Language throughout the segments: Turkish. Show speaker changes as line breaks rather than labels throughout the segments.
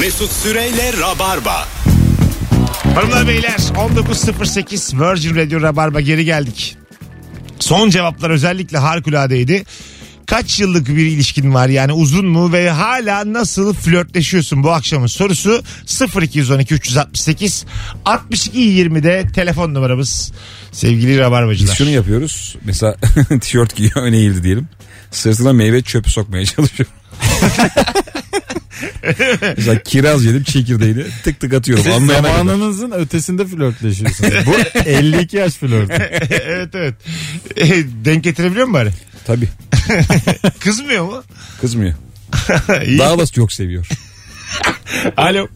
Mesut Süreyle Rabarba.
Hanımlar beyler 19.08 Virgin Radio Rabarba geri geldik. Son cevaplar özellikle harikuladeydi. Kaç yıllık bir ilişkin var yani uzun mu ve hala nasıl flörtleşiyorsun bu akşamın sorusu 0212 368 62 20'de telefon numaramız sevgili
Biz
rabarbacılar.
şunu yapıyoruz. Mesela tişört giyiyor öne eğildi diyelim. Sırtına meyve çöpü sokmaya çalışıyor. Mesela kiraz yedim çekirdeğini tık tık atıyorum.
Siz
Anlayana kadar.
zamanınızın ötesinde flörtleşiyorsunuz. Bu 52 yaş flörtü.
evet evet. E, denk getirebiliyor mu bari?
Tabii
Kızmıyor mu?
kızmıyor.
İyi.
Daha da çok seviyor.
Alo.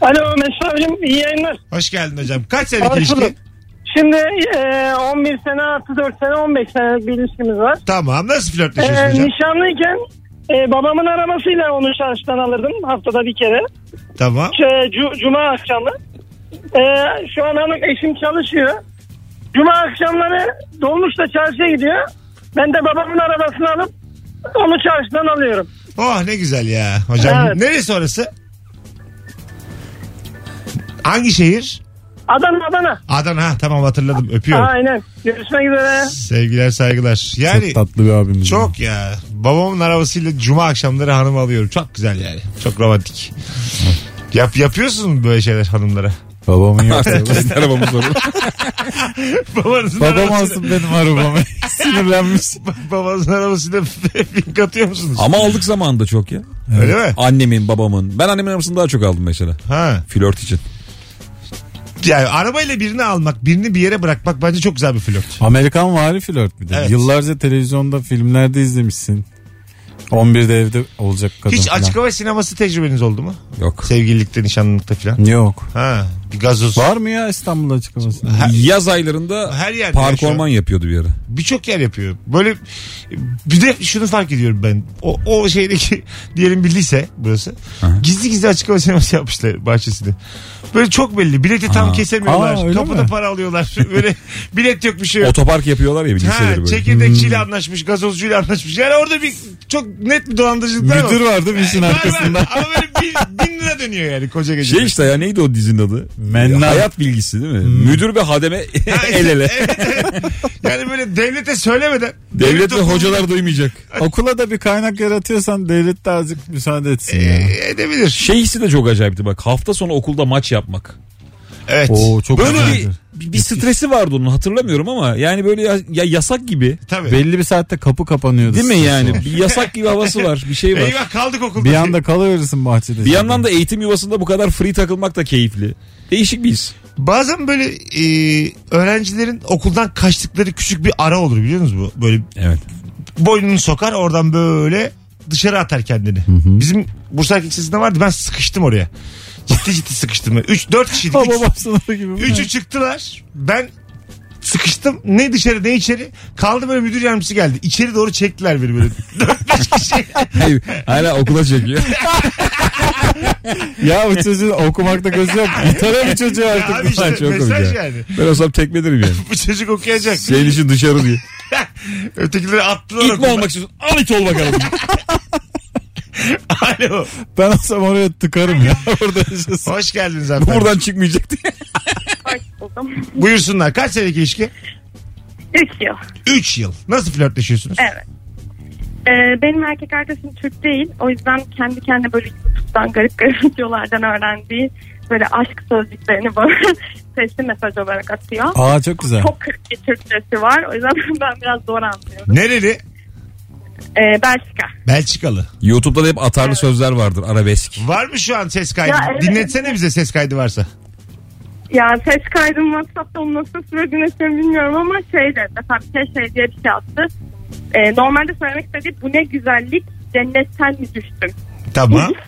Alo Mesut abicim iyi yayınlar.
Hoş geldin hocam. Kaç senelik
Hoş
ilişki?
bulduk. Şimdi e, 11 sene artı 4 sene 15 senelik bir ilişkimiz var.
Tamam nasıl
E,
Ee,
flörtleşiyorsun hocam?
nişanlıyken e, babamın aramasıyla onu şarjdan alırdım haftada bir kere.
Tamam.
Ç- cu- Cuma akşamı. E, şu an hanım eşim çalışıyor. Cuma akşamları dolmuşla çarşıya gidiyor. Ben de babamın arabasını alıp onu çarşıdan alıyorum.
Oh ne güzel ya hocam.
Evet.
Neresi orası? Hangi şehir?
Adana Adana.
Adana. Ha, Tamam hatırladım. Öpüyorum.
Aynen. Görüşmek üzere.
Sevgiler saygılar. Yani
Çok tatlı bir abimiz.
çok ya. Babamın arabasıyla cuma akşamları hanım alıyorum. Çok güzel yani. Çok romantik. Yap, yapıyorsun mu böyle şeyler hanımlara?
Babamın yok.
Artık kendi arabamız var.
Babanızın
Babam
arabasıyla,
alsın benim arabamı. Sinirlenmiş.
babanızın arabasıyla fink atıyor musunuz?
Ama aldık zamanında çok ya.
Öyle mi?
Annemin babamın. Ben annemin arabasını daha çok aldım mesela.
Ha.
Flört için.
Yani arabayla birini almak, birini bir yere bırakmak bence çok güzel bir flört.
Amerikan vari flört bir de.
Evet.
Yıllarca televizyonda filmlerde izlemişsin. 11'de evde olacak kadın
Hiç
falan.
açık hava sineması tecrübeniz oldu mu?
Yok.
Sevgililikte, nişanlılıkta falan.
Yok.
Ha, bir gazoz.
Var mı ya İstanbul'da açık havası?
Yaz aylarında
Her yerde ya
park
şu an.
orman yapıyordu bir ara.
Birçok yer yapıyor. Böyle bir de şunu fark ediyorum ben. O, o şeydeki diyelim bir lise burası. Gizli gizli açık hava sineması yapmışlar bahçesini. Böyle çok belli. Bileti tam kesemiyorlar.
Aa, öyle
Kapıda
mi?
para alıyorlar. Böyle bilet yok bir şey yok.
Otopark yapıyorlar ya bir liseleri
Ha,
böyle.
çekirdekçiyle
Hmm.
anlaşmış, gazozcuyla anlaşmış. Yani orada bir çok net bir dolandırıcılıklar
Müdür var değil mi işin
Var, var.
arkasında?
Ama böyle bir, bin lira dönüyor yani koca gece.
Şey işte ya neydi o dizinin adı? Hmm.
Mennan.
Hayat bilgisi değil mi? Müdür ve hademe el ele.
Evet, evet. Yani böyle devlete söylemeden.
Devlet ve
okulunda-
hocalar duymayacak.
Okula da bir kaynak yaratıyorsan devlet de azıcık müsaade etsin
Ee,
ya.
edebilir.
Şey hissi de çok acayipti bak hafta sonu okulda maç yapmak.
Evet.
Oo çok
Böyle bir,
güzeldir.
bir, bir stresi vardı onun hatırlamıyorum ama yani böyle ya, ya yasak gibi.
Tabii.
Belli bir saatte kapı kapanıyordu.
Değil mi
sırası
yani?
var.
Bir yasak gibi havası var bir şey var.
Eyvah kaldık okulda.
Bir anda kalıverirsin bahçede.
Bir yandan da eğitim yuvasında bu kadar free takılmak da keyifli. Değişik bir his.
Bazen böyle e, öğrencilerin okuldan kaçtıkları küçük bir ara olur biliyor musunuz bu? Böyle
Evet.
boynunu sokar oradan böyle dışarı atar kendini. Bizim Bursa Erkek Lisesi'nde vardı ben sıkıştım oraya. Ciddi ciddi sıkıştım. 3-4 kişiydik.
Baba babasına gibi.
Üçü çıktılar. Ben sıkıştım. Ne dışarı ne içeri. Kaldı böyle müdür yardımcısı geldi. İçeri doğru çektiler beni böyle. 4-5 kişi.
Hayır, hala okula çekiyor.
ya bu çocuğun okumakta gözü yok. Bir tane bir çocuğu
Ya abi
artık.
işte
Çok komik
mesaj
ya.
yani.
Ben olsam tekmelerim yani.
Bu çocuk okuyacak.
Şeyin için dışarı diye.
Ötekileri attılar.
İlk mi
okuldan.
olmak istiyorsun? Al it ol bakalım.
Alo.
Ben olsam oraya tıkarım ya. Orada yaşasın.
Hoş geldiniz efendim.
Buradan çıkmayacak diye.
Hoş buldum.
Buyursunlar. Kaç senelik ilişki?
3 yıl.
3 yıl. Nasıl flörtleşiyorsunuz?
Evet. Ee, benim erkek arkadaşım Türk değil. O yüzden kendi kendine böyle YouTube'dan garip garip videolardan öğrendiği böyle aşk sözcüklerini bana sesli mesaj olarak atıyor.
Aa çok güzel.
Çok kırık bir Türkçesi var. O yüzden ben biraz zor anlıyorum.
Nereli?
Ee, Belçika.
Belçikalı.
YouTube'da da hep atarlı sözler vardır arabesk.
Var mı şu an ses kaydı?
Ya evet.
Dinletsene bize ses kaydı varsa.
Ya ses kaydım WhatsApp'ta onu nasıl sürdüğünü bilmiyorum ama şey dedi. Mesela bir şey şey diye bir şey attı. Ee, normalde söylemek istediği bu ne güzellik cennetten mi düştüm?
Tamam.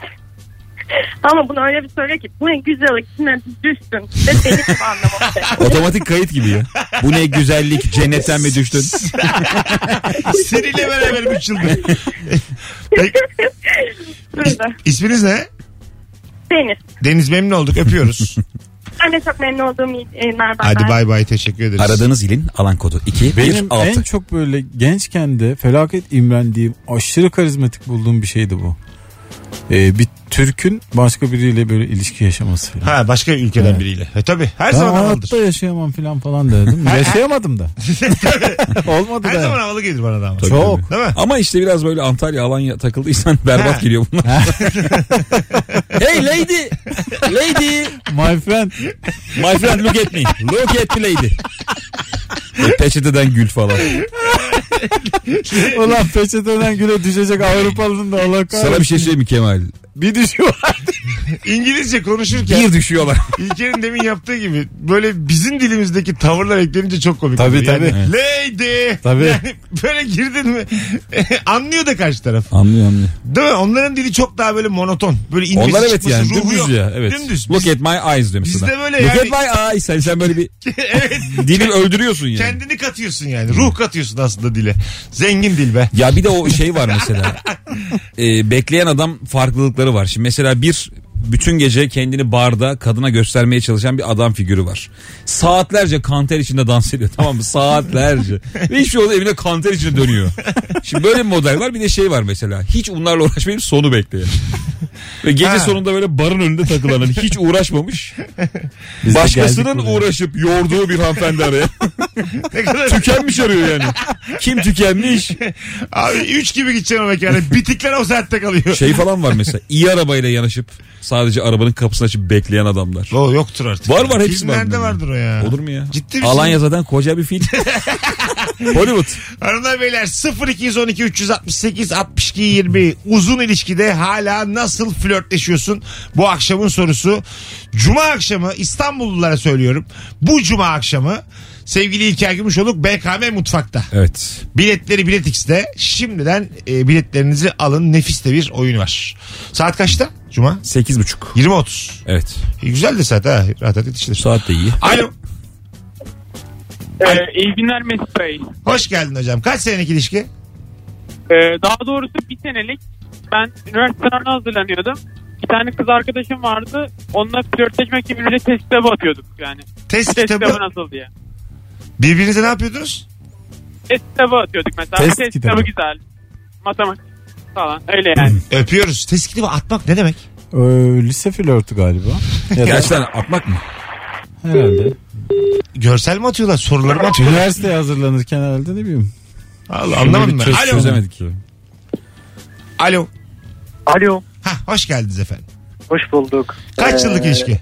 Ama bunu öyle bir söyle ki bu ne güzellik içine düştün ve beni gibi anlamak
Otomatik kayıt gibi ya. Bu ne güzellik cennetten mi düştün?
Seninle beraber 3 yıldır. Peki,
Böyle.
İsminiz ne?
Deniz.
Deniz memnun olduk. Öpüyoruz.
Ben de çok memnun olduğum e, yayınlar.
Hadi bay bay. Teşekkür ederiz.
Aradığınız ilin alan kodu 2
Benim
1 6.
en çok böyle gençken de felaket imrendiğim, aşırı karizmatik bulduğum bir şeydi bu. Ee, bir Türk'ün başka biriyle böyle ilişki yaşaması falan.
Ha başka ülkeden biriyle. E tabi her
Ben
zaman havalıdır.
hayatta yaşayamam falan falan dedim. Yaşayamadım da. Olmadı
Her
da.
zaman havalı gelir bana da ama.
Tabii,
Çok.
tabii.
Değil mi?
Ama işte biraz böyle Antalya Alanya takıldıysan berbat
Ha.
geliyor bunlar. hey lady. Lady.
My friend.
My friend look at me. Look at the lady. E, Peçeteden gül falan.
Ulan peçeteden güle düşecek Avrupalı'nın da Allah kahretsin.
Sana bir şey söyleyeyim mi Kemal?
bir düşüyor.
İngilizce konuşurken
Bir düşüyorlar.
İlker'in demin yaptığı gibi böyle bizim dilimizdeki tavırlar eklenince çok komik.
Tabii,
oluyor. Yani
tabii.
lady.
Tabii.
Yani böyle girdin mi anlıyor da karşı taraf.
Anlıyor anlıyor.
Değil mi? Onların dili çok daha böyle monoton. Böyle inmesi
Onlar evet
çıkması,
yani
ruhu
dümdüz
yok.
ya. Evet.
Dümdüz.
Look at my eyes diyor mesela.
bizde böyle
Look
yani-
at my eyes. Sen, sen böyle bir
evet.
dilini öldürüyorsun yani.
Kendini katıyorsun yani. Ruh katıyorsun aslında dile. Zengin dil be.
Ya bir de o şey var mesela. Ee, bekleyen adam farklılıkları var. Şimdi mesela bir bütün gece kendini barda kadına göstermeye çalışan bir adam figürü var. Saatlerce kanter içinde dans ediyor tamam mı? Saatlerce. Ve hiçbir şey olmadan evine kanter içinde dönüyor. Şimdi böyle bir model var bir de şey var mesela. Hiç bunlarla uğraşmayıp sonu bekleyen. Ve gece
Ha.
sonunda böyle barın önünde takılan hani hiç uğraşmamış. Başkasının uğraşıp yorduğu bir hanımefendi araya.
Ne kadar
tükenmiş arıyor yani. Kim tükenmiş?
Abi 3 gibi gideceksin o mekana. Bitikler o saatte kalıyor.
Şey falan var mesela iyi arabayla yanaşıp sadece arabanın kapısını açıp bekleyen adamlar.
O yoktur artık.
Var var hepsi var.
Filmlerde vardır o ya.
Olur mu ya?
Ciddi misin?
Alanya zaten koca bir film. Hollywood.
Hanımlar beyler 0212 368 62 20 uzun ilişkide hala nasıl flörtleşiyorsun? Bu akşamın sorusu. Cuma akşamı İstanbullulara söylüyorum. Bu cuma akşamı sevgili İlker Gümüşoluk BKM Mutfak'ta.
Evet.
Biletleri Bilet X'de. Şimdiden e, biletlerinizi alın. Nefis de bir oyun var. Saat kaçta? Cuma?
Sekiz buçuk.
20.30.
Evet.
E, güzel de saat ha. Rahat rahat yetişilir.
Saat de iyi.
Alo.
Ee, iyi günler Mesut Bey.
Hoş geldin hocam. Kaç senelik ilişki?
Ee, daha doğrusu bir senelik ben üniversite sınavına hazırlanıyordum. Bir tane kız arkadaşım vardı. Onunla flörtleşmek gibi bir test kitabı atıyorduk yani.
Test
Test kitabı
kitabı.
nasıl diye.
Birbirinize ne yapıyordunuz?
Test kitabı atıyorduk mesela.
Test
Test,
kitabı.
kitabı güzel. Matematik falan öyle yani.
Öpüyoruz. Test kitabı atmak ne demek?
Ee, lise flörtü galiba. Ya da
Gerçekten atmak mı?
herhalde.
Görsel mi atıyorlar? Soruları mı atıyorlar?
Üniversiteye hazırlanırken herhalde ne bileyim.
Allah, anlamadım
Bir
ben.
çöz-
Alo.
Çözemedik.
Alo.
Alo,
Ha, hoş geldiniz efendim.
hoş bulduk.
Kaç yıllık
Ee,
ilişki?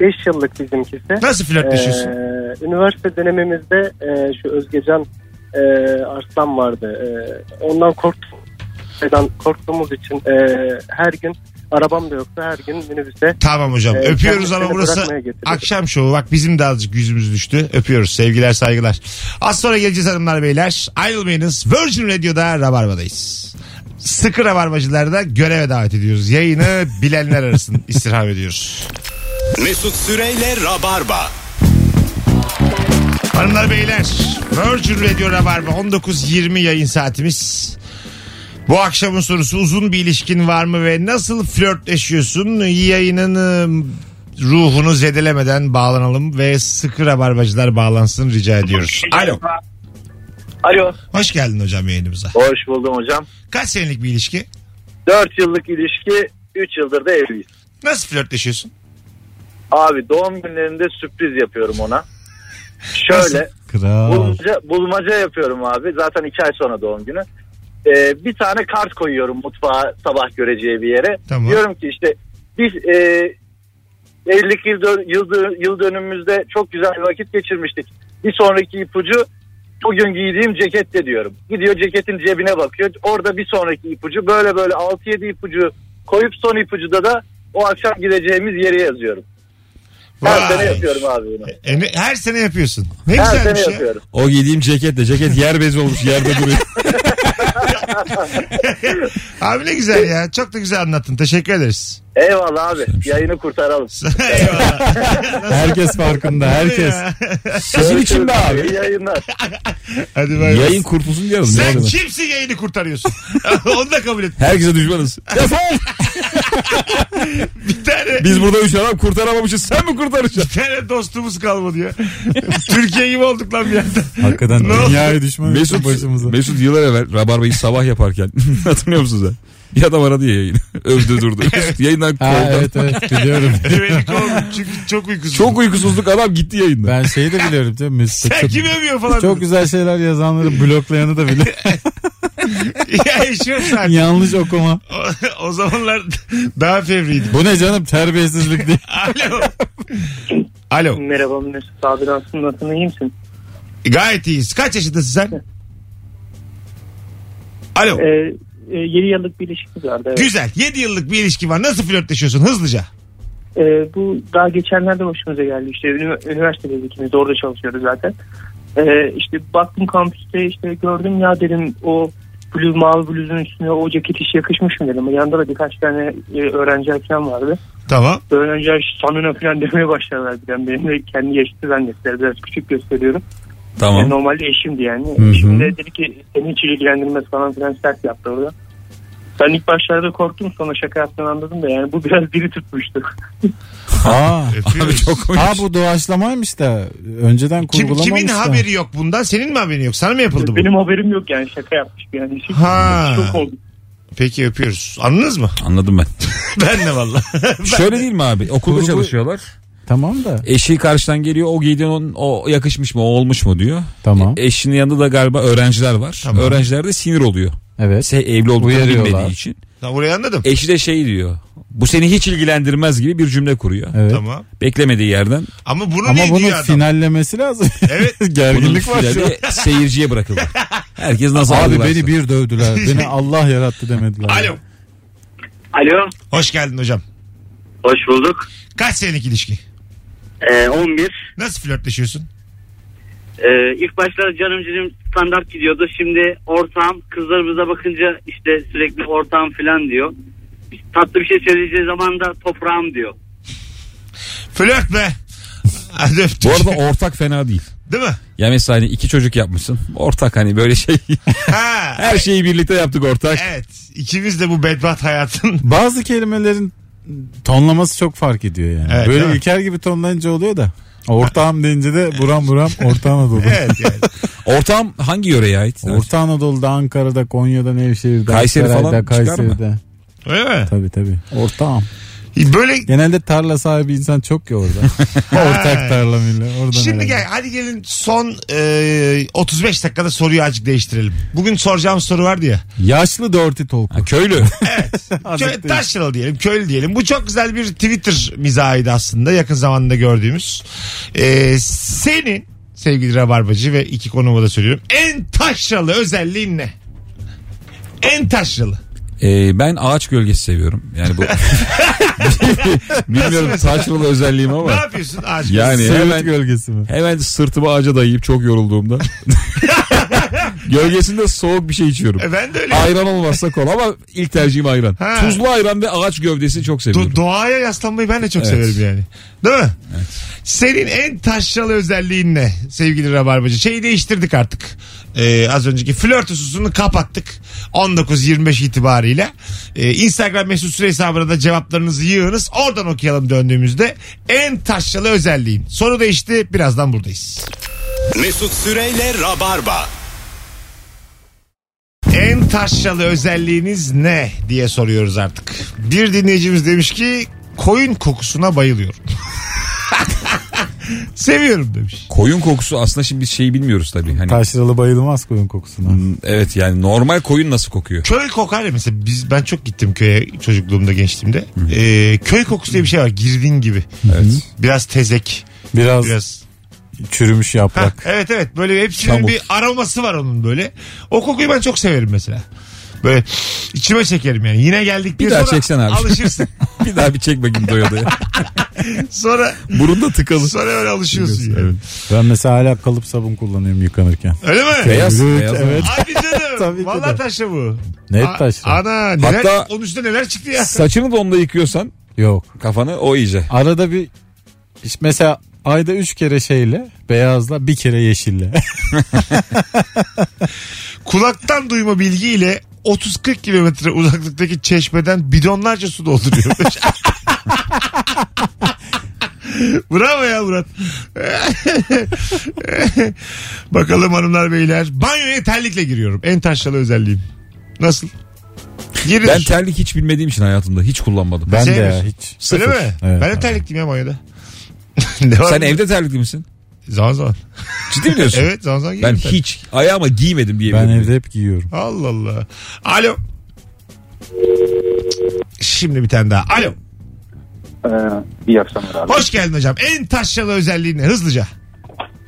5 yıllık bizimkisi.
Nasıl flörtleşiyorsun?
Ee, üniversite dönemimizde e, şu Özgecan e, Arslan vardı. E, ondan korktum. Neden korktuğumuz için e, her gün arabam da yoktu. Her gün minibüse
tamam hocam.
e,
Öpüyoruz ama
kendisini
burası
bırakmaya getirdim.
akşam şovu. Bak bizim de azıcık yüzümüz düştü. Öpüyoruz. Sevgiler, saygılar. Az sonra geleceğiz hanımlar beyler. Ayrılmayınız. Virgin Radio'da Rabarba'dayız. Sıkı Rabarbacılar da göreve davet ediyoruz. Yayını bilenler arasın istirham ediyoruz.
Mesut Süreyle Rabarba.
Hanımlar beyler Virgin Radio Rabarba 19.20 yayın saatimiz. Bu akşamın sorusu uzun bir ilişkin var mı ve nasıl flörtleşiyorsun? Yayının ım, ruhunu zedelemeden bağlanalım ve sıkı rabarbacılar bağlansın rica ediyoruz. Alo.
Alo.
Hoş geldin hocam yayınımıza.
Hoş buldum hocam.
Kaç senelik bir ilişki?
4 yıllık ilişki 3 yıldır da evliyiz.
Nasıl flörtleşiyorsun?
Abi doğum günlerinde sürpriz yapıyorum ona. Şöyle
Kral.
bulmaca, bulmaca yapıyorum abi. Zaten 2 ay sonra doğum günü. Ee, bir tane kart koyuyorum mutfağa sabah göreceği bir yere.
Tamam.
Diyorum ki işte biz e, evlilik yıl, dön- yıl, dön- yıl dönümümüzde çok güzel bir vakit geçirmiştik. Bir sonraki ipucu bugün giydiğim cekette diyorum. Gidiyor ceketin cebine bakıyor. Orada bir sonraki ipucu böyle böyle 6-7 ipucu koyup son ipucuda da o akşam gideceğimiz yeri yazıyorum. Her
Vay.
sene yapıyorum abi bunu.
E, ne- her sene yapıyorsun. Ne
Her
güzelmiş
sene
ya.
yapıyorum.
O giydiğim ceketle ceket yer bezi olmuş yerde duruyor.
Abi ne güzel ya. Çok da güzel anlattın. Teşekkür ederiz.
Eyvallah abi. Yayını kurtaralım.
Eyvallah.
Herkes farkında herkes.
Sizin için be abi.
İyi yayınlar.
Hadi bay bay.
Yayın kurtulsun diyorum.
Sen
Yarın.
kimsin yayını kurtarıyorsun? Onu da kabul et.
Herkese düşmanız. Defol.
Bir tane,
Biz burada üç adam kurtaramamışız. Sen mi kurtaracaksın?
bir tane dostumuz kalmadı ya. Türkiye gibi olduk lan bir anda.
Hakikaten
Ne oldu?
dünyaya düşman Mesut,
Mesut,
başımıza.
Mesut yıllar evvel Rabarba'yı sabah yaparken hatırlıyor musunuz? ha? Bir adam aradı ya yayını. Övdü durdu. Mesut yayından
Ha,
kovdu.
evet evet biliyorum.
Beni kovdun çünkü çok uykusuz.
Çok uykusuzluk adam gitti yayından.
Ben şeyi de biliyorum canım Mesut'u.
Sen
Çok,
kim övüyor falan.
çok güzel şeyler yazanları bloklayanı da biliyorum.
ya yaşıyor sen.
Yanlış okuma.
O, o zamanlar daha fevriydim.
Bu ne canım terbiyesizlik diye.
Alo. Alo.
Merhaba Mesut abi nasılsın nasılsın iyi misin?
Gayet iyiyiz. Kaç yaşındasın sen? Alo.
7 Ee, e, yıllık bir ilişkimiz vardı. evet.
Güzel. 7 yıllık bir ilişki var. Nasıl flörtleşiyorsun hızlıca?
Ee, bu daha geçenlerde başımıza geldi işte ünü- üniversitedeyiz ikimiz de orada çalışıyoruz zaten. Ee, işte baktım kampüste işte gördüm ya dedim o bluz mavi bluzun üstüne o ceket hiç yakışmış mı dedim. Yanında da birkaç tane e, öğrenci falan vardı.
Tamam.
Öğrenciler sanına falan demeye başladılar birden benimle kendi yaşıtı zannettiler biraz küçük gösteriyorum. Yani
Tamam.
normalde eşimdi yani.
hı.
Eşim de dedi ki seni hiç ilgilendirmez falan filan sert yaptı orada. Ben ilk başlarda korktum sonra şaka yaptığını anladım da yani bu biraz diri tutmuştu.
Aa.
Öpüyoruz.
Abi çok komik.
Ha bu doğaçlamaymış da önceden
Kim,
kurgulamamış
kimin
da.
haberi yok bundan? Senin mi haberin yok? Sana mı yapıldı bu?
Benim haberim yok yani şaka yapmış yani. Şey,
Ha.
Çok oldu.
Peki öpüyoruz. Anladınız mı?
Anladım ben.
ben de valla.
Şöyle değil mi abi? Okulda
Kurgu-
çalışıyorlar.
Tamam da
Eşi karşıdan geliyor. O giydiğin onun o yakışmış mı? O olmuş mu diyor.
tamam
Eşinin yanında da galiba öğrenciler var.
Tamam.
Öğrenciler de sinir oluyor.
evet.
Se evli olduklarını
Uyarıyorlar.
bilmediği için.
Tamam burayı anladım.
Eşi de şey diyor. Bu seni hiç ilgilendirmez gibi bir cümle kuruyor.
Evet.
Tamam.
Beklemediği yerden.
Ama bunu
Ama
niye
bunu
diyor adam?
finallemesi lazım.
Evet.
Bunun
Gerginlik var şu an.
finali seyirciye bırakıldı. Herkes nasıl
Abi
algılarsa.
beni bir dövdüler. Beni Allah yarattı demediler.
Alo.
Alo.
Hoş geldin hocam.
Hoş bulduk.
Kaç senelik ilişki?
Ee, 11.
Nasıl flörtleşiyorsun?
Ee, ilk başlarda canım cicim standart gidiyordu. Şimdi ortağım kızlarımıza bakınca işte sürekli ortağım falan diyor. Tatlı bir şey söyleyeceği zaman da toprağım diyor.
Flört be. Hadi öptük.
Bu arada ortak fena değil.
Değil mi?
Ya mesela hani iki çocuk yapmışsın. Ortak hani böyle şey.
Ha.
Her şeyi birlikte yaptık ortak.
Evet. İkimiz de bu bedbaht hayatın.
Bazı kelimelerin tonlaması çok fark ediyor yani.
Evet, değil
Böyle
mi?
İlker gibi tonlayınca oluyor da. Ortağım deyince de buram buram Orta Anadolu.
Evet. evet.
Ortam hangi yöreye ait?
Orta Anadolu'da, Ankara'da, Konya'da, Nevşehir'de,
Kayseri
Saray'da,
falan çıkar mı?
Kayseri'de.
Öyle mi?
Tabii tabii. Ortağım.
Böyle
Genelde tarla sahibi insan çok ya orada. Ortak tarla milli. Oradan
Şimdi
herhalde.
gel, hadi gelin son e, 35 dakikada soruyu azıcık değiştirelim. Bugün soracağım soru vardı ya.
Yaşlı Dorty Talk.
Ha, köylü.
Kö, taşralı diyelim, köylü diyelim. Bu çok güzel bir Twitter mizahıydı aslında yakın zamanda gördüğümüz. E, senin sevgili Rabarbacı ve iki konuğuma da söylüyorum. En taşralı özelliğin ne? En taşralı.
Ee, ben ağaç gölgesi seviyorum. Yani bu bilmiyorum taşralı özelliğim
Ne
ama
yapıyorsun ağaç?
yani
Söğüt
hemen
gölgesi mi?
hemen sırtımı ağaca dayayıp çok yorulduğumda gölgesinde soğuk bir şey içiyorum.
E, Ben de öyle.
Ayran olmazsa kola ama ilk tercihim ayran.
Ha.
Tuzlu ayran ve ağaç gövdesi çok seviyorum.
Do- doğaya yaslanmayı ben de çok
Evet.
severim yani. Değil mi? Senin en taşralı özelliğin ne sevgili Rabarbacı? Şeyi değiştirdik artık. Ee, az önceki flört hususunu kapattık. 19-25 itibariyle. Ee, Instagram mesut süre hesabına da cevaplarınızı yığınız. Oradan okuyalım döndüğümüzde. En taşralı özelliğin. Soru değişti. Birazdan buradayız.
Mesut Süreyle Rabarba.
En taşralı özelliğiniz ne diye soruyoruz artık. Bir dinleyicimiz demiş ki koyun kokusuna bayılıyorum. Seviyorum demiş.
Koyun kokusu aslında şimdi biz şeyi bilmiyoruz tabii. Hani,
Taşralı bayılmaz koyun kokusuna.
evet yani normal koyun nasıl kokuyor?
Köy kokar ya mesela biz ben çok gittim köye çocukluğumda gençliğimde. Ee, köy kokusu diye bir şey var girdin gibi.
Evet.
Biraz tezek
Biraz,
biraz.
çürümüş
Hah,
yaprak.
evet evet böyle hepsinin
Çamur.
bir aroması var onun böyle. O kokuyu ben çok severim mesela. Böyle içime çekerim yani. Yine geldik diye
Bir daha
sonra
çeksen abi.
alışırsın.
bir daha bir çek bakayım doya doya.
sonra
Burunda tıkalı.
sonra öyle alışıyorsun yani.
Ben mesela hala kalıp sabun kullanıyorum yıkanırken.
Öyle mi?
Beyaz.
Evet,
beyaz.
evet.
Hadi canım.
Tabii ki
Vallahi
de.
taşı bu.
Net
A-
taşra.
Ana neler,
Hatta-
onun üstüne neler çıktı ya.
Saçını da onunla yıkıyorsan
Yok.
kafanı o iyice.
Arada bir işte mesela ayda üç kere şeyle beyazla bir kere yeşille.
Kulaktan duyma bilgiyle 30-40 kilometre uzaklıktaki çeşmeden bidonlarca su dolduruyormuş. Bravo ya Murat. Bakalım hanımlar beyler. Banyoya terlikle giriyorum. En taşralı özelliğim. Nasıl? Girilir.
Ben terlik hiç bilmediğim için hayatımda hiç kullanmadım.
Ben de
Sevmiş.
ya hiç.
Öyle
Sıfır.
mi?
Evet.
ben de terlikliyim ya banyoda. ne var?
Sen e- evde terlikli misin?
Zaman zaman.
Ciddi biliyorsun.
Evet zaman zaman
Ben
giyiyorum. terlik.
hiç ayağıma giymedim
Ben
diyebilirim.
evde hep giyiyorum.
Allah Allah. Alo. Şimdi bir tane daha. Alo.
Ee, iyi akşamlar abi.
Hoş geldin hocam. En taşralı özelliğini hızlıca.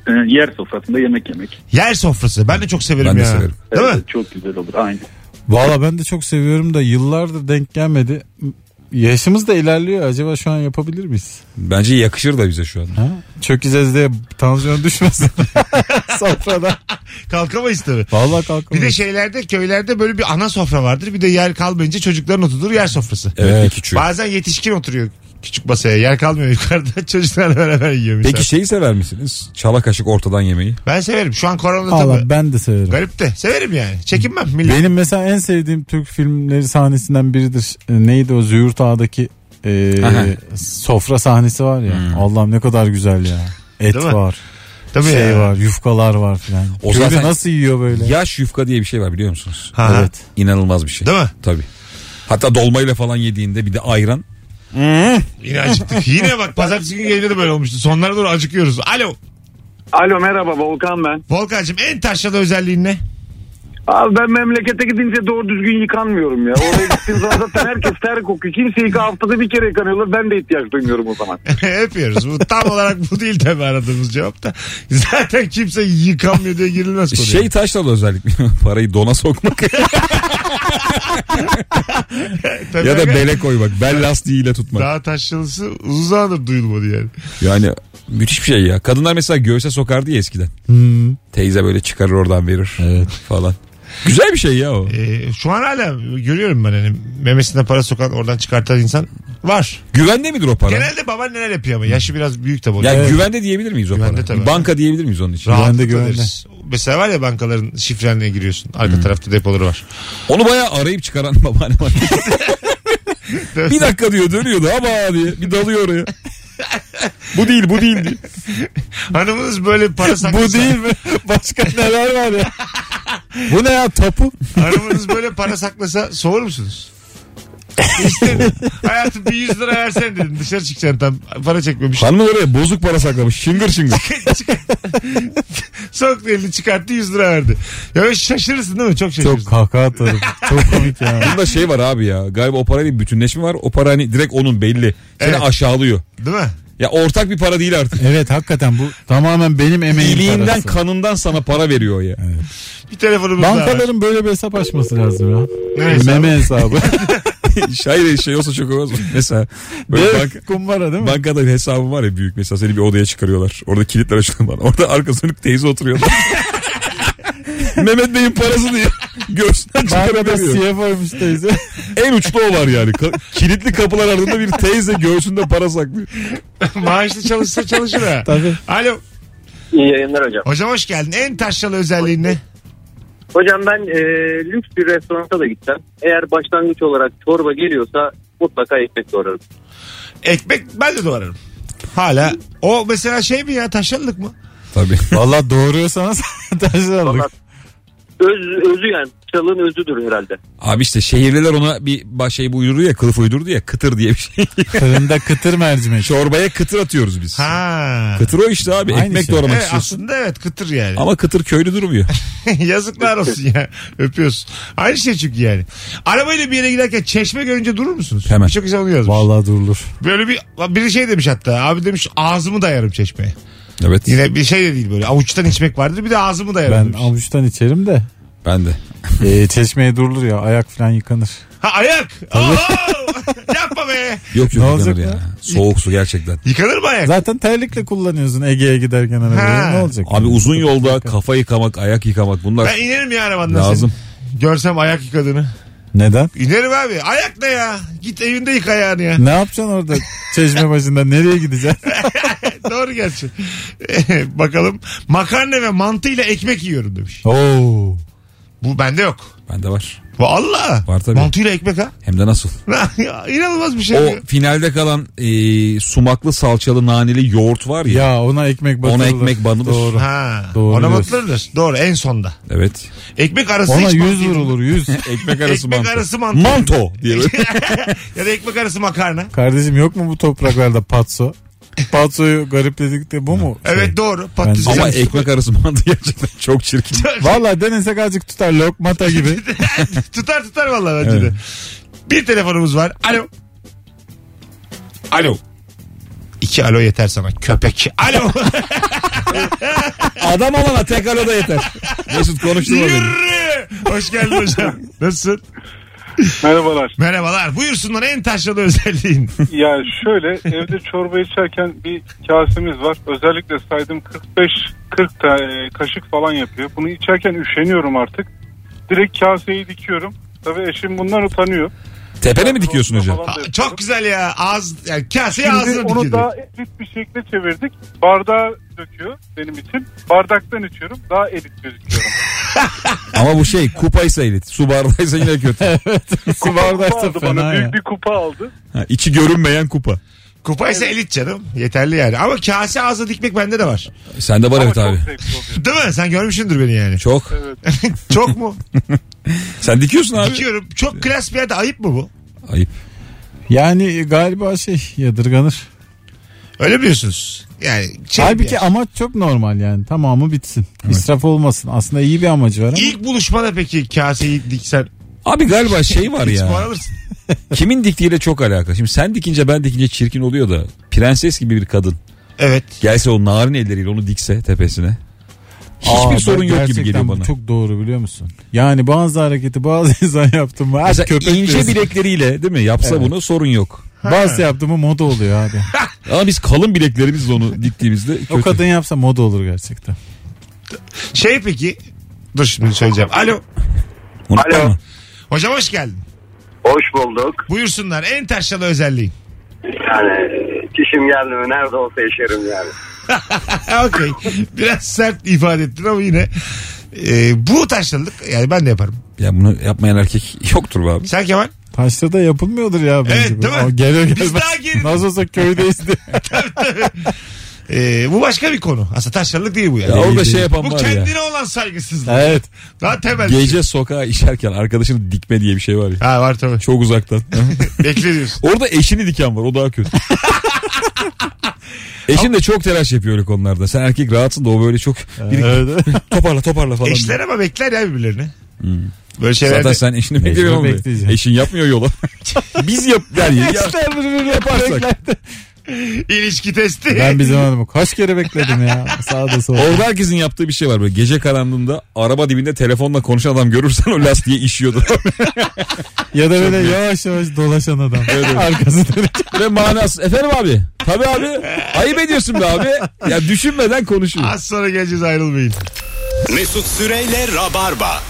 Ee, yer sofrasında yemek yemek. Ee,
Yer sofrası. Ben de çok severim
Ben de
ya.
severim.
Değil mi?
Çok güzel olur. Aynı.
Valla ben de çok seviyorum da yıllardır denk gelmedi. Yaşımız da ilerliyor. Acaba şu an yapabilir miyiz?
Bence yakışır da bize şu an.
Ha? Çökeceğiz diye tansiyon düşmesin. Sofrada.
Kalkamayız tabii.
Valla
Bir
kalkamayız.
de şey şeylerde köylerde böyle bir ana sofra vardır. Bir de yer kalmayınca çocukların oturduğu yer sofrası.
Evet,
Evet.
iki çocuk.
Bazen yetişkin oturuyor küçük masaya. Yer kalmıyor yukarıda. Çocuklarla beraber yiyor.
Peki
Peki.
şeyi sever misiniz? Çala kaşık ortadan yemeği.
Ben severim. Şu an koronada tabii.
Valla ben de severim.
Garip de. Severim yani. Çekinmem. Millet.
Benim mesela en sevdiğim Türk filmleri sahnesinden biridir. E, Neydi o Züğürt Ağa'daki e,
Aha.
sofra sahnesi var ya. Allah'ım ne kadar güzel ya. Et
Değil mi?
var,
Tabii
şey
ya.
var, yufkalar var filan.
O
O Köylü
zaten-
nasıl yiyor böyle?
Yaş yufka diye bir şey var biliyor musunuz?
Ha, ha.
Evet.
İnanılmaz bir şey.
Değil mi?
Tabii. Hatta dolmayla falan yediğinde bir de ayran.
Yine acıktık. Yine bak pazartesi günü yayında da böyle olmuştu. Sonlara doğru acıkıyoruz. Alo.
Alo merhaba Volkan ben.
Volkan'cığım en taşralı özelliğin ne?
Abi ben memlekete gidince doğru düzgün yıkanmıyorum ya. Oraya gittiğim zaman zaten herkes ter kokuyor. Kimse yıka haftada bir kere yıkanıyorlar. Ben de ihtiyaç duymuyorum o zaman.
Öpüyoruz. Bu tam olarak bu değil tabii aradığımız cevap da. Zaten kimse yıkanmıyor diye girilmez konuya.
Şey taşralı özellik Parayı dona sokmak
Tabii
ya da
aga,
bele koymak. Bel lastiğiyle tutmak.
Daha taşralısı uzun zamandır duyulmadı yani.
Yani müthiş bir şey ya. Kadınlar mesela göğse sokardı ya eskiden.
Hmm.
Teyze böyle çıkarır oradan verir falan. Güzel bir şey ya
E,
o.
Ee, şu an hala görüyorum ben hani memesine para sokan oradan çıkartan insan var.
Güvende midir o para?
Genelde babaanneler yapıyor ama yaşı biraz büyük tabii.
ya
Yani
güvende diyebilir miyiz o
Güvende
para?
tabii.
Banka diyebilir miyiz onun için?
Rahatlıkla
güvende, güvende.
deriz. Mesela var ya bankaların şifrenle giriyorsun. Arka tarafta depoları var.
Onu bayağı arayıp çıkaran babaanne var. bir dakika diyor dönüyordu ama diye bir dalıyor oraya. bu değil bu değil diye.
Hanımınız böyle para saklasa.
Bu değil mi? Başka neler var ya? Bu ne ya topu?
Hanımınız böyle para saklasa soğur musunuz? İsterim. Hayatım bir 100 lira versen dedim. Dışarı çıkacaksın tam. Para çekmemiş.
Hanım oraya bozuk para saklamış şıngır şıngır.
Soktu elini çıkarttı 100 lira verdi. Ya böyle şaşırırsın değil mi? Çok
Çok
şaşırırsın.
kahkaha atarım. Çok komik ya.
Bunda şey var abi ya galiba o parayla bir bütünleşme var. O para hani direkt onun belli. Seni
Evet.
aşağılıyor.
Değil mi?
Ya ortak bir para değil artık.
Evet hakikaten bu tamamen benim emeğim
İliğinden
parası.
kanından sana para veriyor ya.
Bir telefonumuz daha var.
Bankaların böyle bir hesap açması lazım ya.
Ne hesabı?
Meme hesabı.
Hayır şey olsa çok olmaz mı? Mesela böyle
Dev
bank,
kumbara değil mi?
bankada bir hesabım var ya büyük mesela seni bir odaya çıkarıyorlar. Orada kilitler açılıyor bana. Orada arkasında bir teyze oturuyor. Mehmet Bey'in parası diye göğsünden
Bankada
çıkarabiliyor.
CFO'ymuş teyze.
En uçlu o var yani. Ka- kilitli kapılar ardında bir teyze göğsünde para saklıyor.
Maaşlı çalışsa çalışır ha.
Tabii.
Alo.
İyi yayınlar hocam.
Hocam hoş geldin. En taşralı özelliğin ne?
Hocam ben e, lüks bir restoranta da gitsem eğer başlangıç olarak çorba geliyorsa mutlaka ekmek doğrarım.
Ekmek ben de doğrarım. Hala. O mesela şey mi ya taşralılık mı?
Tabii.
Valla doğuruyorsanız taşlarlık.
Vallahi Öz, özü yani çalın özüdür herhalde.
Abi işte şehirliler ona bir ba- şey uydurdu ya kılıf uydurdu ya kıtır diye bir şey.
Fırında kıtır mercimek.
Çorbaya kıtır atıyoruz biz.
Ha.
Kıtır o işte abi.
Aynı
Ekmek
şey.
doğramak
Evet,
istiyorsun.
aslında evet kıtır yani.
Ama kıtır köylü durmuyor.
Yazıklar olsun ya. Öpüyoruz. Aynı şey çünkü yani. Arabayla bir yere giderken çeşme görünce durur musunuz?
Hemen.
Çok güzel onu yazmış.
Valla durulur.
Böyle bir biri şey demiş hatta. Abi demiş ağzımı dayarım çeşmeye.
Evet.
Yine bir şey de değil böyle. Avuçtan içmek vardır bir de ağzımı dayarım
Ben
demiş.
avuçtan içerim de.
Ben de.
E, çeşmeye durulur ya ayak falan yıkanır.
Ha ayak. Oo! Yapma be.
Yok
Ne
yok
olacak
yıkanır ya.
ya?
Soğuk su gerçekten.
Yıkanır mı ayak?
Zaten terlikle kullanıyorsun Ege'ye giderken
Ha.
arabayı. Ne olacak?
Abi uzun yolda kafa yıkamak, ayak yıkamak bunlar
Ben inerim ya arabandan
lazım.
senin. Görsem ayak yıkadığını.
Neden?
İnerim abi. Ayak ne ya? Git evinde yıka ayağını ya.
Ne yapacaksın orada çeşme başında? Nereye gideceksin?
Doğru gerçi. Bakalım. Makarna ve mantıyla ekmek yiyorum demiş.
Oo.
Bu bende yok.
Bende var.
Valla.
Var tabii.
Mantıyla ekmek ha.
Hem de nasıl?
Ya, İnanılmaz bir şey.
O finalde kalan e, sumaklı salçalı naneli yoğurt var ya.
Ya ona ekmek
Ona
batırılır.
ekmek banılır.
Doğru.
Ha,
Doğru
ona
diyorsun.
batırılır. Doğru en sonda.
Evet.
Ekmek arası
Ona
hiç mantı
yüz
yedim.
vurulur yüz.
Ekmek arası
Ekmek
mantı.
arası mantı.
Manto diye böyle.
ya da ekmek arası makarna.
Kardeşim yok mu bu topraklarda patso? Patsoyu garipledik de bu mu?
Evet doğru. Patates.
Ama ekmek arası mantı gerçekten çok çirkin.
Valla denesek azıcık tutar lokmata gibi.
tutar tutar vallahi bence
Evet.
de. Bir telefonumuz var. Alo. Alo. İki alo yeter sana köpek. Alo.
Adam olana tek aloda yeter. Mesut konuşturma beni.
Yürü. Hoş geldin hocam. Nasılsın?
Merhabalar.
Merhabalar. Buyursunlar en taşralı özelliğin.
Ya şöyle evde çorba içerken bir kasemiz var. Özellikle saydım 45 40 ta- e, kaşık falan yapıyor. Bunu içerken üşeniyorum artık. Direkt kaseyi dikiyorum. Tabii eşim bundan utanıyor.
Tepene mi dikiyorsun hocam?
Falan da
Çok güzel ya. Ağız, yani kaseye
Şimdi
ağzına
onu
dikildi.
daha elit bir şekilde çevirdik. Bardağa döküyor benim için. Bardaktan içiyorum. Daha elit gözüküyorum.
Ama bu şey kupaysa elit. Su bardağıysa yine kötü.
Su
kupa
bardakta
aldı bana.
fena ya.
Büyük bir kupa aldı.
Ha, içi görünmeyen kupa.
Kupa ise elit canım. Yeterli yani. Ama kase ağza dikmek bende de var.
Sen de var
Ama
evet
çok
abi.
zevkli oluyor.
Değil mi? Sen görmüşsündür beni yani.
Çok.
Çok mu?
Sen dikiyorsun abi.
Dikiyorum. Çok klas bir yerde ayıp mı bu?
Ayıp.
Yani galiba şey yadırganır.
Öyle mi diyorsunuz? Yani şey bir
Halbuki
yer.
amaç çok normal yani. Tamamı bitsin. İsraf olmasın. Aslında iyi bir amacı var ama.
İlk buluşmada peki kaseyi diksen
Abi galiba şey var
hiç puan
ya.
alırsın.
Kimin diktiğiyle çok alakalı. Şimdi sen dikince ben dikince çirkin oluyor da. Prenses gibi bir kadın.
Evet.
Gelse o narin elleriyle onu dikse tepesine. Hiçbir
Aa,
sorun
ben
yok gibi
gerçekten
geliyor
bu
bana.
Çok doğru biliyor musun? Yani bazı hareketi bazı insan yaptı mı? Mesela
Mesela
köpek
ince
diyorsun.
bilekleriyle değil mi? Yapsa bunu sorun yok.
Bazı yaptı mı moda oluyor abi.
Ama biz kalın bileklerimizle onu diktiğimizde kötü.
o kadın yapsa moda olur gerçekten.
Şey peki. Dur şimdi söyleyeceğim. Alo.
Unuttun
Alo.
mu?
Hocam hoş geldin.
Hoş bulduk.
Buyursunlar en taşralı özelliğin.
Yani e, kişim geldi mi nerede olsa yaşarım yani.
Ha, Okey. Biraz sert ifade ettin ama yine. e, bu taşralılık yani ben de yaparım.
Ya bunu yapmayan erkek yoktur be abi.
Sen Kemal?
Taşta da yapılmıyordur ya bence.
Evet,
bu.
değil mi?
O gelir
Biz
gelmez.
daha geri-
Nasıl olsa köydeyiz de.
E, bu başka bir konu. Aslında taşralılık değil bu yani.
Ya orada şey
bu
yapan var ya.
kendine olan saygısızlık.
evet.
Daha temel. bir şey.
Gece sokağa işerken arkadaşını dikme diye bir şey var ya.
Ha var tabii.
Çok uzaktan.
Bekle diyorsun.
Orada eşini diken var. O daha kötü. Eşin de çok telaş yapıyor öyle konularda. Sen erkek rahatsın da o böyle çok biri
evet.
toparla toparla falan.
Eşler ama bekler ya birbirlerini. Böyle şeylerde.
Hmm. Zaten sen eşini bekliyorsun. oğlum.
bekleyeceksin.
Eşin yapmıyor yolu. Biz yap yani ya-
İşte birbirini
yaparsak.
İlişki testi.
Ben bir zamanım kaç kere bekledim ya. Sağda solda.
Orada herkesin yaptığı bir şey var böyle gece karanlığında araba dibinde telefonla konuşan adam görürsen o lastiğe işiyordu.
Ya da böyle yavaş yavaş dolaşan adam. Arkası dönük.
Ve manası efendim abi tabii abi ayıp ediyorsun be abi ya düşünmeden konuşuyor.
Az sonra geleceğiz ayrılmayın.
Mesut Süreyle Rabarba.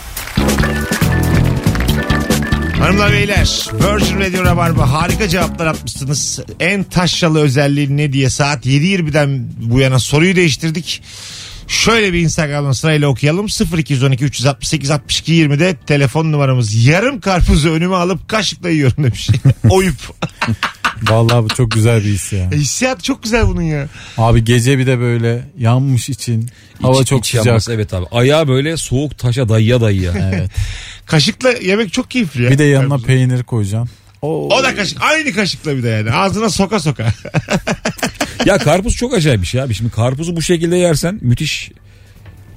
Hanımlar beyler Virgin Radio Rabarba harika cevaplar atmışsınız. En taşralı özelliği ne diye saat 7.20'den bu yana soruyu değiştirdik. Şöyle bir Instagram'dan sırayla okuyalım. 0212 368 62 20'de telefon numaramız. Yarım karpuzu önüme alıp kaşıkla yiyorum demiş. Oyup.
Vallahi bu çok güzel bir his ya.
E, Hissiyat çok güzel bunun ya.
Abi gece bir de böyle yanmış için. Hava
İç-
çok
iç
sıcak.
yanması, evet abi ayağı böyle soğuk taşa dayıya dayıya.
Evet.
Kaşıkla yemek çok keyifli ya.
Bir de yanına
Karpuzu.
peynir koyacaksın.
O da kaşık. Aynı kaşıkla bir de yani. Ağzına soka soka.
ya karpuz çok acayip bir şey abi şimdi karpuzu bu şekilde yersen müthiş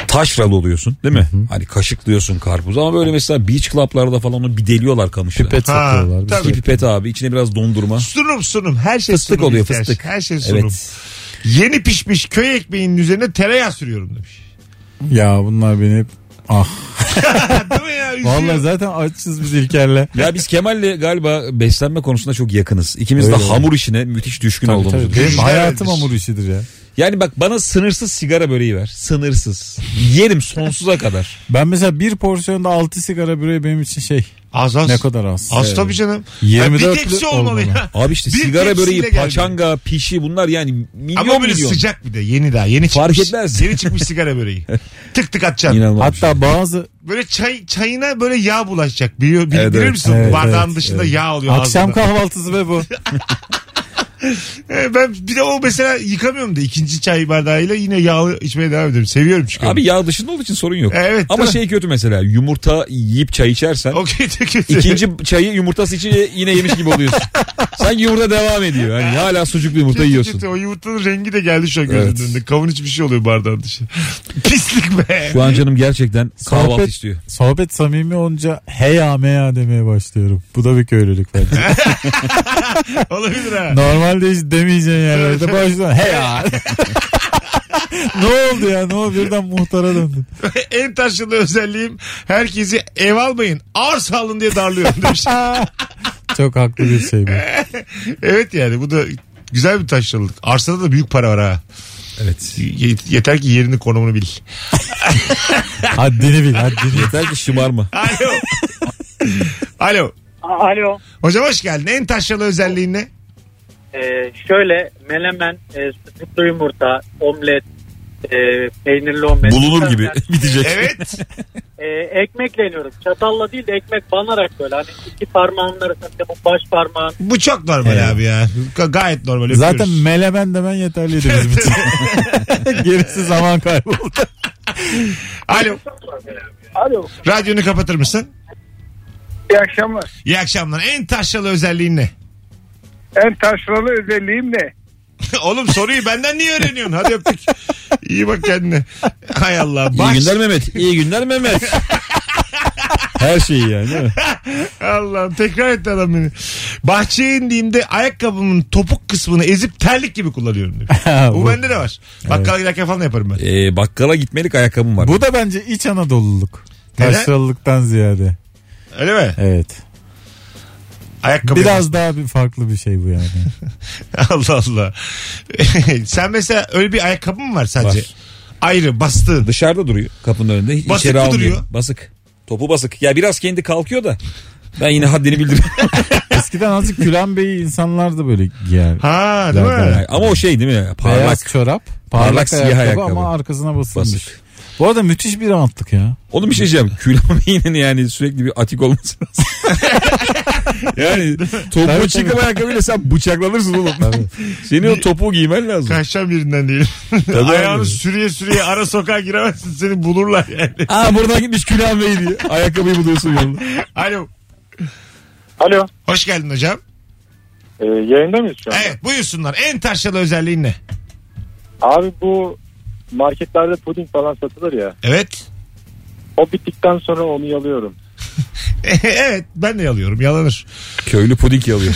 taşralı oluyorsun değil mi? Hani kaşıklıyorsun karpuzu ama böyle mesela beach club'larda falan onu bir deliyorlar kamışla.
Pipet
Ha,
satıyorlar.
tabii.
İki pipet abi içine biraz dondurma.
sunum sunum. Her şey
Fıstık
sunum
oluyor,
işte her
fıstık.
şey. Her şey sunum.
Evet.
Yeni pişmiş köy ekmeğinin üzerine tereyağı sürüyorum demiş.
Ya bunlar beni hep- ah.
Değil mi ya? Üzüyor.
Vallahi zaten açız biz İlker'le.
Ya biz Kemal'le galiba beslenme konusunda çok yakınız. İkimiz
Öyle
de hamur işine müthiş düşkün
Tabii,
olduğumuzu
tabii.
düşünüyorum.
Benim hayatım
Güzel şey.
hamur işidir ya.
Yani bak bana sınırsız sigara böreği ver. Sınırsız. Yerim sonsuza kadar.
Ben mesela bir porsiyonda 6 sigara böreği benim için şey.
Az az.
Ne kadar az.
Az tabii canım. Yani
24'lü
bir tepsi olmalı ya.
Abi işte
Bir
sigara
tepsiyle
böreği,
geldi.
paçanga, pişi bunlar yani milyon
Ama böyle
milyon.
sıcak bir de yeni daha yeni
Fark
çıkmış.
etmez.
Yeni çıkmış sigara böreği. tık tık atacaksın.
İnanılmaz. bir şey.
Hatta bazı
Böyle çay çayına böyle yağ bulaşacak. Biliyor, bil-
Evet,
bilir
evet.
misin?
Evet,
Bardağın
evet,
dışında
evet.
yağ oluyor
akşam
ağzında.
kahvaltısı be bu.
Ee, ben bir de o mesela yıkamıyorum da ikinci çay bardağıyla yine yağlı içmeye devam ediyorum. Seviyorum çünkü.
Abi yağ dışında olduğu için sorun yok.
Evet,
Ama
değil mi?
şey kötü mesela yumurta yiyip çay içersen
o kötü kötü.
ikinci çayı yumurtası için yine yemiş gibi oluyorsun. Sanki yumurta devam ediyor. Yani hala sucuklu yumurta
Kötü
yiyorsun.
kötü. O yumurtanın rengi de geldi şu an gözümün
Evet.
önünde. Kavun hiçbir şey oluyor bardağın dışı. Pislik be.
Şu an canım gerçekten kahvaltı istiyor.
sohbet samimi olunca heya meya demeye başlıyorum. Bu da bir köylülük bence.
Olabilir ha.
Normalde hiç demeyeceğin yerlerde başlıyorsun heya. ne oldu ya ne oldu birden muhtara döndün.
en taşlı özelliğim herkesi ev almayın. Arsa alın diye darlıyorum demiş.
Çok haklı bir şey bu.
evet yani bu da güzel bir taşlılık. Arsada da büyük para var ha.
Evet.
Ye- yeter ki yerini konumunu bil.
Haddini bil haddini.
Yeter ki şımarma.
Alo. Alo.
Alo.
Hocam hoş geldin. En taşralı özelliğin ne?
Ee, şöyle melemen, e, sucuklu yumurta, omlet, e, peynirli omlet.
Bulunur gibi bitecek.
Evet.
E, ekmekle yiyoruz. Çatalla değil de ekmek banarak böyle. Hani iki parmağın arasında bu baş parmağın.
Bu çok normal abi ya. Ga- gayet normal. Öpüyoruz.
Zaten melemen demen yeterliydi bizim için. Gerisi zaman kaybı.
Alo.
Alo.
Radyonu kapatır mısın?
İyi akşamlar.
İyi akşamlar. En taşralı özelliğin ne?
En taşralı özelliğim ne?
Oğlum soruyu benden niye öğreniyorsun? Hadi öptük. İyi bak kendine. Hay Allah.
İyi
Baş...
günler Mehmet. İyi günler Mehmet. Her
şey
şeyi yani değil mi?
Allah'ım tekrar etti adam beni. Bahçeye indiğimde ayakkabımın topuk kısmını ezip terlik gibi kullanıyorum demiş. Bu bende de var. Bakkala giderken falan da yaparım ben.
Ee, bakkala gitmelik ayakkabım var.
Bu da bence iç Anadoluluk.
Neden?
Taşralılıktan ziyade.
Öyle mi?
Evet.
Ayakkabı.
Biraz daha bir farklı bir şey bu yani.
Allah Allah. Sen mesela öyle bir ayakkabın mı var sadece?
Var.
Ayrı bastığın.
Dışarıda duruyor kapının önünde. Hiç
Basık
içeri
mı
almıyor.
duruyor?
Basık. Topu basık. Ya biraz kendi kalkıyor da. Ben yine haddini bildiriyorum.
Eskiden azıcık Gülen Bey'i insanlar da böyle giyer.
Ha değil
Zaten
mi?
ayakkabı.
Ama o şey değil mi? Parlak.
Beyaz çorap. Parlak,
Parlak siyah
ayakkabı,
ayakkabı.
ama arkasına basılmış.
Basık.
Bu arada müthiş bir rahatlık ya.
Oğlum bir şey diyeceğim. Külahmeyenin yani sürekli bir atik olması lazım. yani topuğu
Tabii,
çıkıp
tabii.
ayakkabıyla sen bıçaklanırsın oğlum. Senin o topuğu giymen lazım.
Kaçacağım birinden değil. Ayağını sürüye sürüye ara sokağa giremezsin seni bulurlar yani.
Aa buradan gitmiş Külhan Bey diye. Ayakkabıyı buluyorsun yolda.
Alo.
Alo.
Hoş geldin hocam.
Ee, yayında mıyız şu an?
Evet buyursunlar. En taşralı özelliğin ne?
Abi bu marketlerde puding falan satılır ya.
Evet.
O bittikten sonra onu yalıyorum.
evet ben de yalıyorum yalanır.
Köylü puding yalıyor.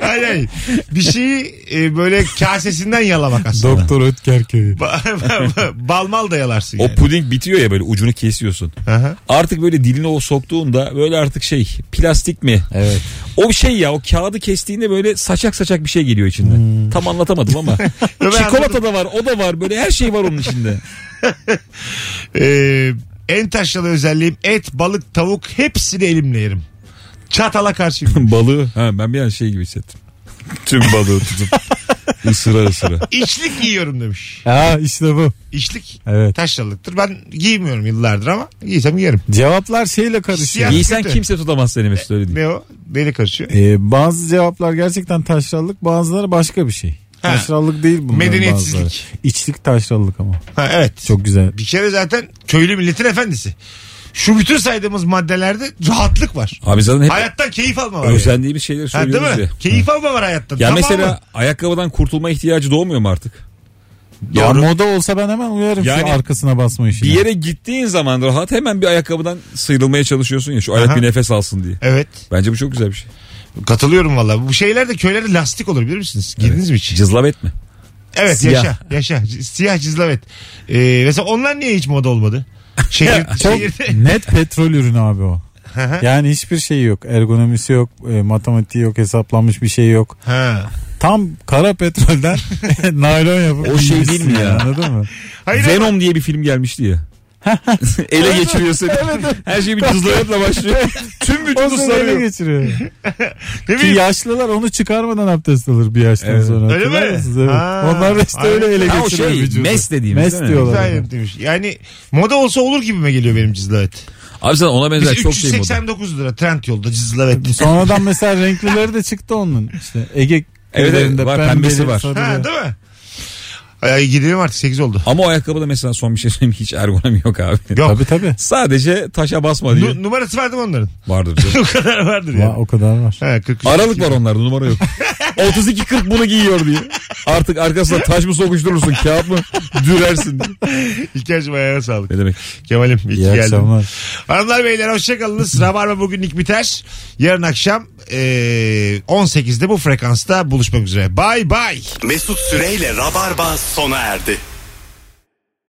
Hayır hayır. Bir şeyi e, böyle kasesinden yalamak aslında.
Doktor Ötker köyü.
Ba- Balmal da yalarsın
o
yani.
puding bitiyor ya böyle ucunu kesiyorsun.
Aha.
Artık böyle dilini o soktuğunda böyle artık şey plastik mi?
Evet.
O şey ya o kağıdı kestiğinde böyle saçak saçak bir şey geliyor içinden. Tam anlatamadım ama. Çikolata da var o da var böyle her şey var onun içinde.
Ee, en taşralı özelliğim et, balık, tavuk hepsini elimle yerim. Çatala karşıyım.
balığı. Ha, ben bir an şey gibi hissettim. Tüm balığı tutup ısıra ısıra.
İçlik giyiyorum demiş.
Ha işte bu.
İçlik
Evet.
taşralıktır. Ben giymiyorum yıllardır ama giysem giyerim.
Cevaplar şeyle karışıyor.
Siyah-
Giysen kimse tutamaz seni Mesut öyle diyeyim.
Ne o? Neyle karışıyor?
Ee, bazı cevaplar gerçekten taşrallık bazıları başka bir şey.
Ha.
Taşrallık değil bunlar
Medeniyetsizlik.
bazıları. İçlik taşrallık ama.
Ha, evet.
Çok güzel.
Bir kere zaten köylü milletin efendisi. Şu bütün saydığımız maddelerde rahatlık var.
Abi zaten hep
Hayattan keyif alma var. yani.
özendiğimiz şeyleri
Ha, değil
söylüyoruz
mi?
ya.
Keyif alma var hayattan.
Ya
Tamam
mesela
mı?
ayakkabıdan kurtulma ihtiyacı doğmuyor mu artık?
Ya
Doğru.
moda olsa ben hemen uyarım
Yani
şu arkasına basma işine.
Bir yere gittiğin zaman rahat hemen bir ayakkabıdan sıyrılmaya çalışıyorsun ya şu ayak
Aha.
bir nefes alsın diye.
Evet.
Bence bu çok güzel bir şey.
Katılıyorum valla. Bu şeyler de köylerde lastik olur bilir misiniz? Giydiniz mi hiç?
Cızlavet mi?
Evet
Siyah.
yaşa yaşa C- siyah cizlavet. Ee, mesela onlar niye hiç moda olmadı? Şehir,
Çok
şehirde-
Şey, net petrol ürünü abi o.
hı.
yani hiçbir şeyi yok. Ergonomisi yok. e, matematiği yok. Hesaplanmış bir şey yok.
ha.
tam kara petrolden naylon yapıp
O şey
giymişsin
değil mi ya?
Anladın mı?
Hayır ama-
Venom diye bir film gelmişti ya. Ele geçiriyor seni. Her şey bir cızlayıpla başlıyor. Tüm
O
vücudu
seni ele
sarıyor.
geçiriyor.
Ne
Ki
bileyim.
yaşlılar onu çıkarmadan abdest alır bir yaştan
Evet.
sonra.
Öyle mi?
Hatırlar mısınız? Evet.
Ha.
Onlar da işte öyle ele
Ha, o
geçiriyor
şey,
vücudu.
mes dediğimiz
Mes
değil mi?
diyorlar.
Güzel yaptıymış. Yani moda olsa olur gibime geliyor benim cızlavet.
Abi sen ona
Biz
benzer çok şey moda.
389 lira trend yolda cızlavet.
Sonradan mesela renklileri de çıktı onun. İşte Ege
Evet,
köylerinde
var,
pembeli,
pembesi var.
sarılı.
ha değil mi? Ay, gidelim artık 8 oldu.
Ama o ayakkabıda mesela son bir şey söyleyeyim hiç ergonomi yok abi.
Yok.
Tabii tabii.
Sadece taşa basma diye.
Nu- numarası vardı mı onların?
Vardır. canım.
o kadar vardır
Va-
ya.
o kadar var.
Ha, 43.
Aralık var onlarda numara yok. 32-40 bunu giyiyor diye. Artık arkasına taş mı sokuşturursun kağıt mı dürersin diye.
İlker'cim ayağına sağlık.
Ne demek?
Kemal'im iyi ki
İyi
geldin.
akşamlar.
Hanımlar beyler hoşçakalınız. Rabarba bugünlük biter. Yarın akşam eee, 18'de bu frekansta buluşmak üzere. Bay bay.
Mesut Süreyle Rabarba sona erdi.